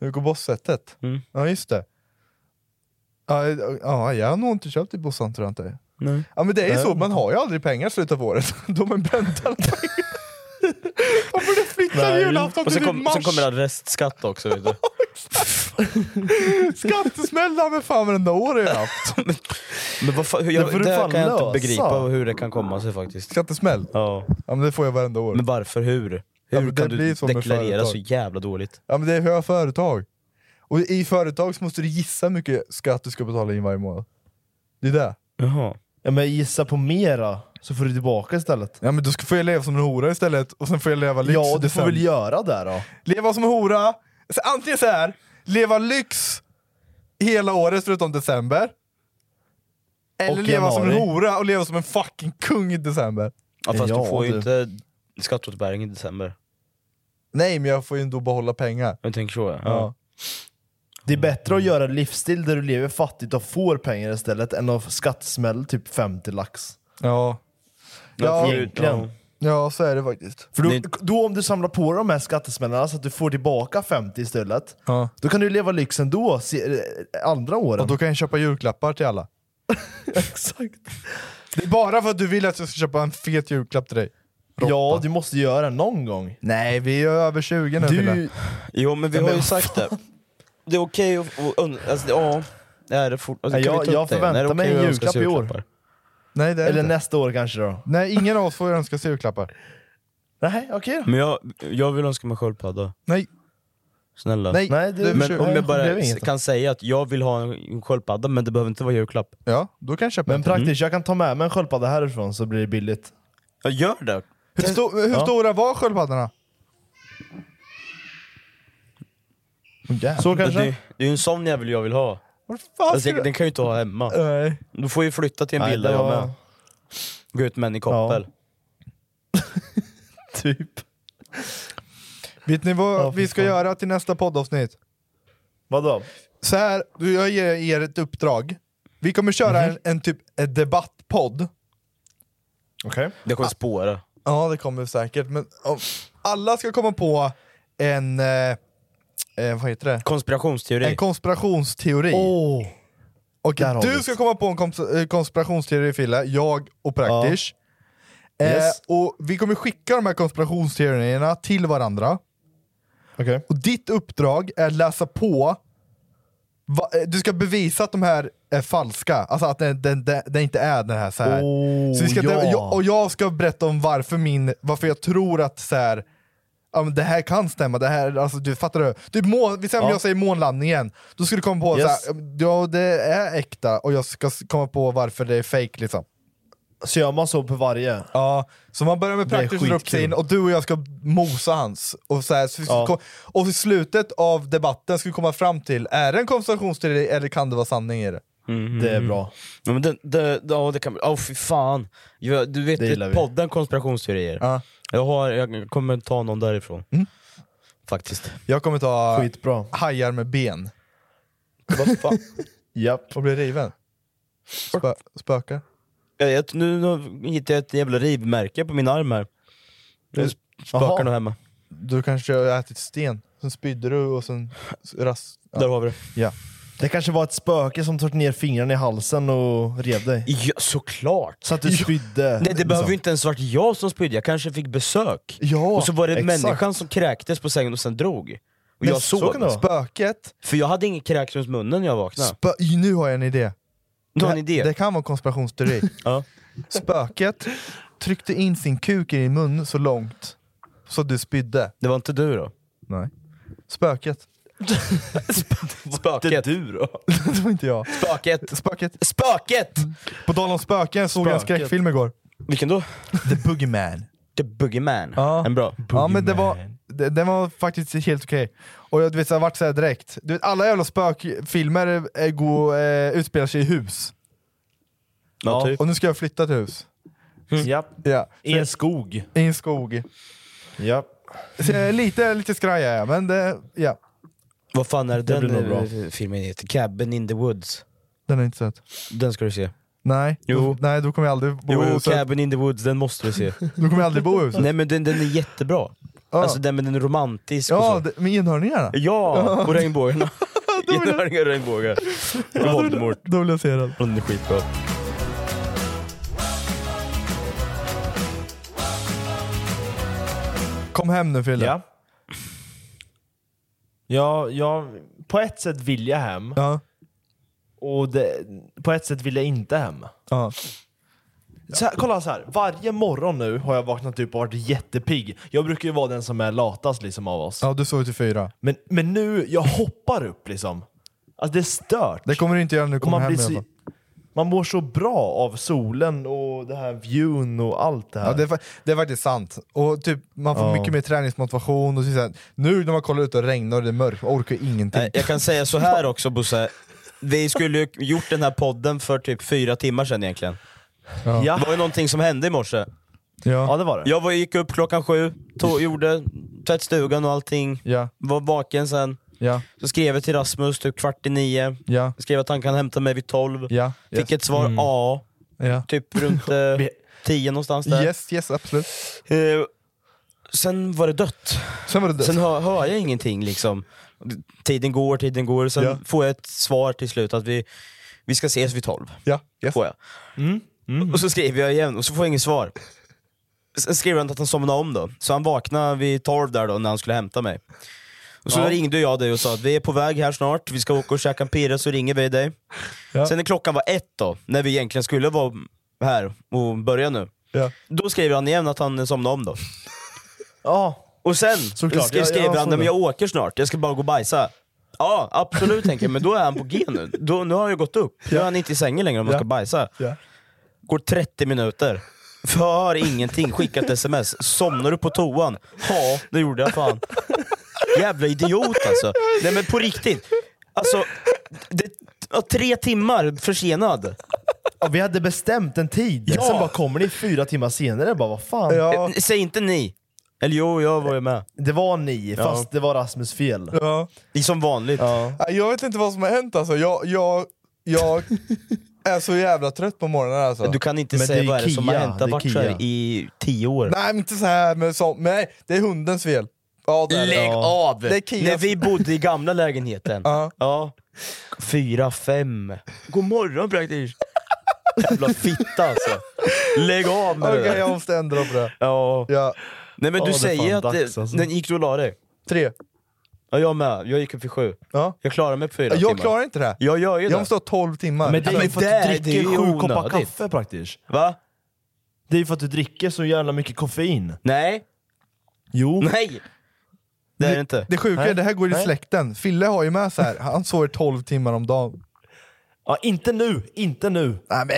S4: Hugo Boss-setet?
S6: Mm.
S4: Ja, just det. Ja, ja, jag har nog inte köpt i bossan tror jag inte.
S6: Nej.
S4: Ja, men det är ju
S6: Nej.
S4: så, man har ju aldrig pengar i slutet av året. Då man väntar alla pengar. Varför det flyttar julafton till
S6: Och sen,
S4: kom,
S6: kom,
S4: mars?
S6: sen kommer det restskatt också. Vet du.
S4: Skattesmäll har väl fan varenda år jag har haft.
S6: Men vad fan, hur-
S4: Det
S6: jag,
S4: får du
S6: det här
S4: fan
S6: kan jag inte
S4: lösa.
S6: begripa hur det kan komma sig faktiskt.
S4: Skattesmäll?
S6: Ja.
S4: ja men det får jag varenda år.
S6: Men varför? Hur? Hur
S4: men det
S6: kan du
S4: blir så med
S6: deklarera
S4: företag.
S6: så jävla dåligt?
S4: Ja men det är för jag har företag. Och i företag så måste du gissa hur mycket skatt du ska betala in varje månad. Det är det.
S6: Jaha.
S12: Ja, men gissa på mera, så får du tillbaka istället.
S4: Ja men då ska, får jag leva som en hora istället, och sen får jag leva lyx.
S12: Ja,
S4: i
S12: du får
S4: december.
S12: väl göra det då.
S4: Leva som en hora, Så antingen så här, leva lyx hela året förutom december. Eller
S6: Och
S4: leva som en
S6: januari.
S4: hora och leva som en fucking kung i december.
S6: Ja, fast du får ju inte skatteåterbäring i december.
S4: Nej men jag får ju ändå behålla pengar.
S6: Jag tänker så ja.
S4: Ja.
S12: Det är bättre att göra en livsstil där du lever fattigt och får pengar istället än att skattesmäll typ 50 lax.
S4: Ja.
S12: Ja,
S4: Ja,
S12: egentligen.
S4: ja, så är det faktiskt.
S12: För då, då om du samlar på de här skattesmällarna så att du får tillbaka 50 istället,
S4: Ja.
S12: då kan du leva lyxen då, se, eh, andra åren.
S4: Och då kan jag köpa julklappar till alla. Exakt. Det är bara för att du vill att jag ska köpa en fet julklapp till dig.
S12: Ja, du måste göra det någon gång.
S4: Nej, vi är över 20 nu Fille.
S6: Jo men vi
S4: Ja, men
S6: har ju
S4: vad
S6: sagt det. Det är okej att... och und- Alltså, ja. Är det fort, alltså,
S12: Nej,
S6: kan
S12: jag-
S6: vi ta upp
S12: jag
S6: det?
S12: förväntar
S6: Är det
S12: mig en
S6: okej att önska sig
S12: julklapp i år.
S6: julklappar?
S4: Nej, det är
S12: Eller
S4: det.
S12: nästa år kanske då.
S4: Nej, ingen av oss får önska sig julklappar.
S12: Nej, okej då.
S6: Men jag, jag vill önska mig sköldpadda.
S4: Nej.
S6: Snälla.
S4: Nej, Nej, det är
S6: men
S4: försök-
S6: om
S4: nej,
S6: jag bara
S4: det är inget.
S6: kan säga att jag vill ha en- en sköldpadda men det behöver inte vara julklapp.
S4: Ja, då kan jag köpa
S12: Men praktiskt, jag kan ta med mig en sköldpadda härifrån så blir det billigt.
S6: Ja, gör det.
S4: Hur, sto- hur
S12: Ja.
S4: stora var sköldpaddorna?
S6: Så kanske? Det, det är ju en sån jävel jag vill ha.
S4: fan
S6: Alltså,
S4: ska du-
S6: jag, den kan jag ju inte ha hemma.
S4: Nej.
S6: Du får ju flytta till en
S12: Nej,
S6: villa
S12: det
S6: jag
S12: var-
S6: med. Gå ut med en i koppel.
S12: typ.
S4: Vet ni vad vi ska göra till nästa poddavsnitt?
S12: Vadå?
S4: Så här, du, jag ger er ett uppdrag. Vi kommer köra
S12: Mhm.
S4: en, en typ en debattpodd.
S12: Okej.
S6: Det kommer spåra.
S4: Ja, det kommer säkert. Men om alla ska komma på en... Eh, eh, vad heter det?
S6: Konspirationsteori.
S4: En konspirationsteori.
S12: Åh!
S4: Och
S12: Där har vi
S4: du
S12: det.
S4: ska komma på en komps- eh, konspirationsteori Fille, jag och Praktish. Eh,
S12: Yes.
S4: och vi kommer skicka de här konspirationsteorierna till varandra.
S12: Okej.
S4: Och ditt uppdrag är att läsa på, va, eh, du ska bevisa att de här är falska, alltså att den, den, den, den inte är den här. Så här.
S12: Oh,
S4: så vi ska,
S12: ja.
S4: jag, och jag ska berätta om varför, min, varför jag tror att så här, ja, men det här kan stämma, det här, alltså, du fattar du? Typ mån, vi säger om
S12: Ja.
S4: jag säger månlandningen, då ska du komma på
S12: Yes.
S4: så här, ja det är äkta och jag ska s- komma på varför det är fake liksom.
S12: Så gör man så på varje?
S4: Ja, så man börjar med
S12: Det är
S4: praktiskt rutin
S12: skitkul.
S4: och du och jag ska mosa hans. Och, så här, så vi ska
S12: Ja.
S4: kom- och i slutet av debatten ska vi komma fram till, är det en konspirationsteori eller kan det vara sanning i det?
S12: Det är bra.
S6: Mhm. Ja, men det, det, ja, det kan bli... Åh fy fan. Jag, du vet
S12: Det gillar vi.
S6: podden konspirationsteorier.
S4: Ja.
S6: Jag, har, jag kommer ta någon därifrån.
S12: Mm.
S6: Faktiskt.
S4: Jag kommer ta
S12: Skitbra.
S4: hajar med ben
S6: Vad fan?
S12: Japp.
S4: och bli riven. Spö, spökar.
S6: jag, vet, nu, nu hittade jag ett jävla rivmärke på min arm här. Nu
S12: Jaha.
S6: spökar nog hemma.
S4: Du kanske har ätit sten, sen spydde du och sen rast...
S6: Där har vi det.
S4: Ja.
S12: Det kanske var ett spöke som tog ner fingrarna i halsen och rev dig.
S6: Ja, såklart!
S12: Så att du spydde.
S6: Nej, det behöver
S12: liksom.
S6: ju inte ens varit jag som spydde, jag kanske fick besök.
S4: Ja,
S6: och så var det
S12: exakt.
S6: människan som kräktes på sängen och sen drog. Och
S12: Men
S6: jag
S12: så
S6: sov.
S12: kan det vara.
S4: Spöket,
S6: För jag hade ingen kräks runt munnen när jag vaknade.
S4: spö, nu har jag en idé.
S6: Du har en
S4: Det-
S6: idé?
S4: Det kan vara en konspirationsteori.
S6: Ja.
S4: Spöket tryckte in sin kuk i din mun så långt så du spydde.
S6: Det var inte du då?
S4: Nej. Spöket.
S6: Spöket. du då?
S4: det var inte jag.
S6: Spöket.
S4: Spöket.
S6: Spöket!
S4: På tal om spöken såg jag en
S12: Spöket.
S4: skräckfilm igår.
S6: Vilken då?
S4: The Boogeyman.
S6: The Boogeyman.
S4: Ja.
S6: En bra.
S4: Ja men det var, det, den var faktiskt helt okej. Och jag, du vet, så jag vart såhär direkt, du vet, alla jävla spökfilmer eh, går, eh, utspelar sig i hus.
S6: Ja, typ.
S4: Och nu ska jag flytta till hus.
S12: Japp.
S4: Ja.
S12: I en skog.
S4: I en skog.
S12: Japp.
S4: Så, jag är lite, lite skraj är jag, men det, ja.
S6: Vad fan är det
S12: blir nog
S6: den eh, filmen heter? Cabin in the Woods.
S4: Den är inte söt.
S6: Den ska du se.
S4: Nej,
S6: Jo.
S4: Då, nej, då kommer jag aldrig bo i
S6: Jo,
S4: huset.
S6: Cabin in the Woods, den måste du se.
S4: Du kommer aldrig bo i huset.
S6: Nej men den, den är jättebra. Alltså den, men den är romantisk
S4: Ja,
S6: och så.
S4: det- med enhörningarna?
S6: Ja, och regnbågarna.
S4: vill jag-
S6: Enhörningar och regnbågar. Och Voldemort.
S4: Då vill jag se den.
S6: Den är skitbra.
S4: Kom hem nu Fille.
S8: Ja. Ja, jag, på ett sätt vill jag hem. Och det, på ett sätt vill jag inte hem.
S4: Ja.
S8: Så här, kolla så här. varje morgon nu har jag vaknat upp och varit jättepigg. Jag brukar ju vara den som är latast liksom av oss.
S4: Ja, du sov ju till fyra.
S8: Men, men nu, jag hoppar upp liksom. Alltså det är stört.
S4: Det kommer du inte göra när du
S8: Och
S4: kommer
S8: man,
S4: hem
S8: blir
S4: i
S8: så,
S4: alla fall.
S8: man mår så bra av solen och det här viewn och allt det här.
S4: Ja, det, är, fa- det är faktiskt sant. Och typ, man får
S8: Ja.
S4: mycket mer träningsmotivation. Och så, så här, nu när man kollar ut och regnar och det är mörkt, jag orkar ju ingenting.
S6: Nej,
S4: jag
S6: kan säga så här också Bosse, vi skulle ju gjort den här podden för typ fyra timmar sedan egentligen.
S4: Ja.
S6: Det var ju någonting som hände i morse.
S4: Ja.
S8: det var
S6: Jag var, gick upp klockan sju, tog, gjorde tvättstugan och allting,
S4: Ja.
S6: var vaken sen.
S4: Ja.
S6: Så skrev jag till Rasmus typ kvart i nio,
S4: Ja.
S6: skrev att han kan hämta mig vid tolv.
S4: Ja.
S6: Fick
S4: Yes.
S6: ett svar
S4: Mm.
S6: A,
S4: Ja.
S6: typ runt eh, tio någonstans där.
S4: Yes, yes, absolut.
S6: Eh, sen var det dött.
S4: Sen, var det dött.
S6: sen hör, hör jag ingenting liksom. Tiden går, tiden går, sen
S4: Ja.
S6: får jag ett svar till slut att vi, vi ska ses vid tolv.
S4: Ja, yes.
S6: Får jag.
S13: Mm.
S6: Och så skriver jag igen och så får jag inget svar. Sen skriver han att han somnade om då, så han vaknade vid tolv där då när han skulle hämta mig. Och så
S13: Ja.
S6: ringde jag dig och sa att vi är på väg här snart, vi ska åka och käka en pira så ringer vi dig.
S13: Ja.
S6: Sen när klockan var ett då, när vi egentligen skulle vara här och börja nu.
S4: Ja.
S6: Då skriver han igen att han somnade om då.
S8: Ja.
S6: Och sen
S8: Såklart.
S6: skrev,
S8: Ja,
S6: skrev
S8: ja,
S6: han
S8: så
S6: men
S8: det.
S6: jag åker snart, jag ska bara gå och bajsa. Ja, absolut tänker jag, men då är han på G nu. Då, nu har han ju gått upp. Nu är han inte i sängen längre om han
S4: Ja.
S6: ska bajsa.
S4: Ja.
S6: Går 30 minuter. För ingenting, skickat sms. Somnar du på toan? Ja, det gjorde jag fan. Jävla idiot alltså. Nej men på riktigt. Alltså, det, ja, tre timmar försenad.
S8: Ja, vi hade bestämt en tid,
S6: Ja.
S8: sen bara kommer ni fyra timmar senare bara vad fan.
S6: Eh, Säg inte ni. Eller jo, jag var ju med.
S8: Det var ni,
S6: Ja.
S8: fast det var Rasmus fel.
S4: Ja.
S6: Det är som vanligt.
S4: Nej, Jag vet inte vad som har hänt alltså. Jag, jag, jag är så jävla trött på morgonen alltså.
S6: Du kan inte säga vad är det som har hänt. Det har varit så här i tio år.
S4: Nej, men inte så här men så, Nej, det är hundens fel. Ja, det är det.
S6: Lägg av!
S4: Det är Kias
S6: När vi bodde i gamla lägenheten. ja. Fyra, fem. God morgon praktiskt. Jävla fitta alltså. Lägg av med det
S4: Okej,
S6: där.
S4: jag måste ändra på det.
S6: Ja. Nej men
S4: Ja,
S6: du
S4: det är
S6: säger att...
S4: fan dags,
S6: det-
S4: alltså.
S6: När gick du och la dig?
S4: Tre.
S6: Ja jag med, jag gick upp vid sju.
S4: Ja.
S6: Jag klarar mig på fyra
S4: Jag
S6: timmar.
S4: klarar inte det.
S6: Jag gör ju
S4: Jag
S6: det.
S4: måste ha 12 timmar.
S8: Men det är ju för att du
S6: det är
S8: dricker
S6: ju
S8: sju koppar
S6: onödigt.
S8: kaffe praktiskt.
S6: Va?
S8: Det är ju för att du dricker så jävla mycket koffein.
S6: Nej.
S8: Jo.
S6: Nej! Det är det inte.
S4: Det sjuka är, det här går i
S8: Nej.
S4: släkten. Fille har ju med så här. han sover 12 timmar om dagen.
S8: Ja, inte nu, inte nu.
S4: Nej, men.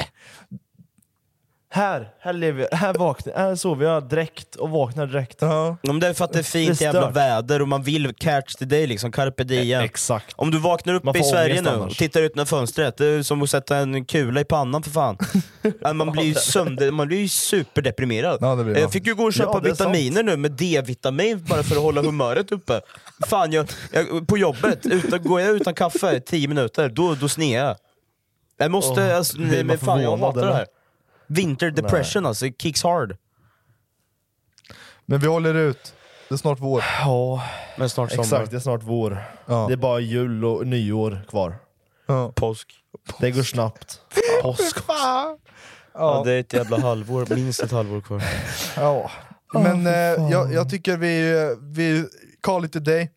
S8: Här, här, lever jag, här, vaknar, här sover jag direkt och vaknar direkt.
S4: Ja.
S6: Om det är för att det är fint
S8: Det är
S6: jävla
S8: stört. Eh,
S6: väder och man vill catch the day liksom, carpe diem.
S8: exakt.
S6: Om du vaknar upp
S8: Man
S6: i
S8: får
S6: Sverige
S8: ångest
S6: nu och
S8: annars.
S6: tittar ut genom fönstret, det är som att sätta en kula i pannan för fan. Ja, man blir ju sönder, man blir ju superdeprimerad.
S4: Ja, det blir man.
S6: jag fick ju gå och köpa
S4: Ja, det är
S6: vitaminer nu med D-vitamin bara för att hålla humöret uppe. Fan, jag, jag, på jobbet, utan, går jag utan kaffe i 10 minuter, då, då snear jag. Jag måste,
S8: Åh,
S6: alltså,
S8: blir
S6: nej,
S8: man
S6: men fan jag
S8: förvånad,
S6: hatar det
S8: eller?
S6: här. Winter depression alltså, it kicks hard.
S4: Men vi håller ut. Det är snart vår.
S8: Ja,
S6: Men snart sommar.
S8: exakt. Det är snart vår.
S4: Ja.
S8: Det är bara jul och nyår kvar.
S4: Ja.
S6: Påsk.
S8: Det går snabbt. Påsk.
S4: Fan.
S6: Ja. det är ett jävla halvår, minst ett halvår kvar.
S4: Ja. Men eh, jag, jag tycker vi, eh, vi call it a day.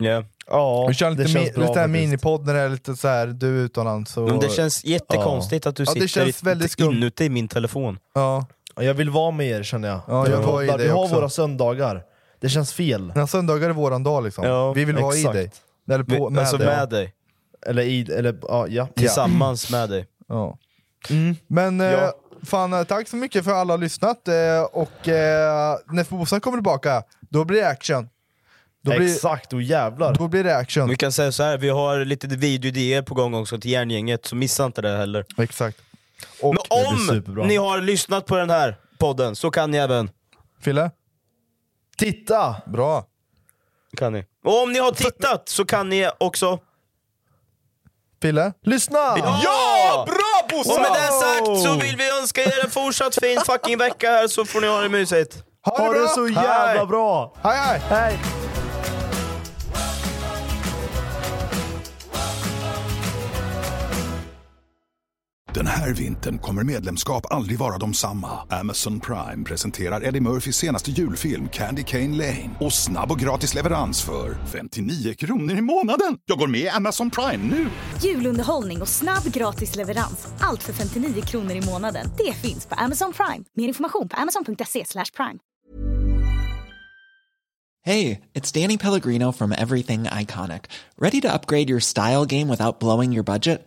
S6: Yeah.
S8: Ja,
S4: vi kör lite,
S8: det känns
S4: mi- lite här
S8: bra faktiskt.
S4: minipodd när det är lite så här, du är utomlands. Och,
S6: Men det känns jättekonstigt
S4: Ja.
S6: att du
S4: Ja,
S6: sitter
S4: det känns
S6: i-
S4: väldigt skumt.
S6: inuti i min telefon.
S4: Ja.
S8: Ja, Jag vill vara med er känner jag.
S4: Ja,
S8: När
S4: jag
S8: vi
S4: var i
S8: poddar.
S4: det
S8: Vi har
S4: också.
S8: våra söndagar. Det känns fel.
S4: När söndagar är våran dag liksom.
S6: Ja,
S4: vi vill vara
S8: exakt.
S4: i dig. Eller på, med
S6: alltså
S4: dig.
S6: med dig.
S8: Eller i... Eller, ja, ja.
S6: Tillsammans med dig.
S4: Ja. Men eh,
S8: Ja.
S4: fan, eh, tack så mycket för att alla har lyssnat. Eh, och eh, när Fosan kommer tillbaka, då blir det action. Då blir,
S8: Exakt, och jävlar.
S4: då blir det action.
S6: Vi kan säga så här, vi har lite videoidéer på gång också till järngänget, så missa inte det heller.
S4: Exakt.
S6: Men
S8: Det blir
S6: om
S8: superbra.
S6: ni har lyssnat på den här podden så kan ni även...
S4: Fille?
S8: Titta!
S4: Bra.
S6: Kan ni. Och om ni har tittat så kan ni också...
S4: Fille?
S8: Lyssna!
S6: Ja!
S4: Bra Trosa!
S14: Och med det sagt så vill vi önska er en fortsatt fin fucking vecka här så får ni ha det mysigt.
S4: Ha det så jävla bra!
S15: Hej, hej!
S4: hej.
S1: Den här vintern kommer medlemskap aldrig vara de samma. Amazon Prime presenterar Eddie Murphys senaste julfilm Candy Cane Lane. Och snabb och gratis leverans för 59 kronor i månaden. Jag går med i Amazon Prime nu!
S16: Julunderhållning och snabb gratis leverans. Allt för 59 kronor i månaden. Det finns på Amazon Prime. Mer information på amazon.se slash prime.
S6: Hey, it's Danny Pellegrino from Everything Iconic. Ready to upgrade your style game without blowing your budget?